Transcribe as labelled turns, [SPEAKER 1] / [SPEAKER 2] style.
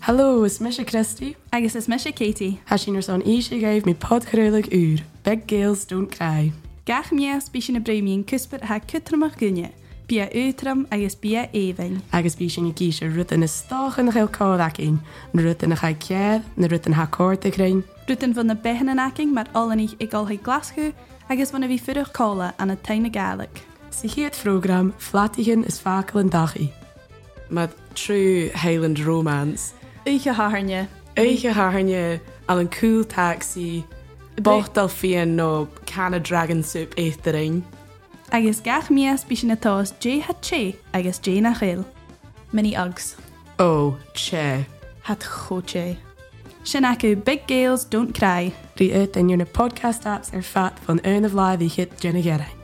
[SPEAKER 1] Hallo, is Misha Christie.
[SPEAKER 2] Agus is meise Katie.
[SPEAKER 1] Has sin ar son ishe gaif me podgerelig uur. Big girls don't cry.
[SPEAKER 2] Gach mias bí sin na breimín cuspur ha cutramach gunne. Bia útram agus bia éhain.
[SPEAKER 1] Agus bí sin i gísir rut yn ystach yn chael codac un. Na rut yn chai ciedd, na rut yn ha cortig rhain.
[SPEAKER 2] Rutan van na behan an aking mar allanich ag olhe glasgow agus van a bhí furach cála an a taina gaelic.
[SPEAKER 1] Si hi het program Flatigen is fakel en dag i.
[SPEAKER 3] Met true Highland romance.
[SPEAKER 2] Uige haarne.
[SPEAKER 3] Eigen haarnje al een cool taxi. Bocht al fian op can of dragon soup eithering.
[SPEAKER 2] Agus gach mias bí sin atás J hat che agus J na chail. Mini ugs.
[SPEAKER 3] Oh, che.
[SPEAKER 2] Hat choche. Sin acu big gales don't cry.
[SPEAKER 1] Die uit in jullie podcast apps er vat van een of laai die het Jenny Gerring.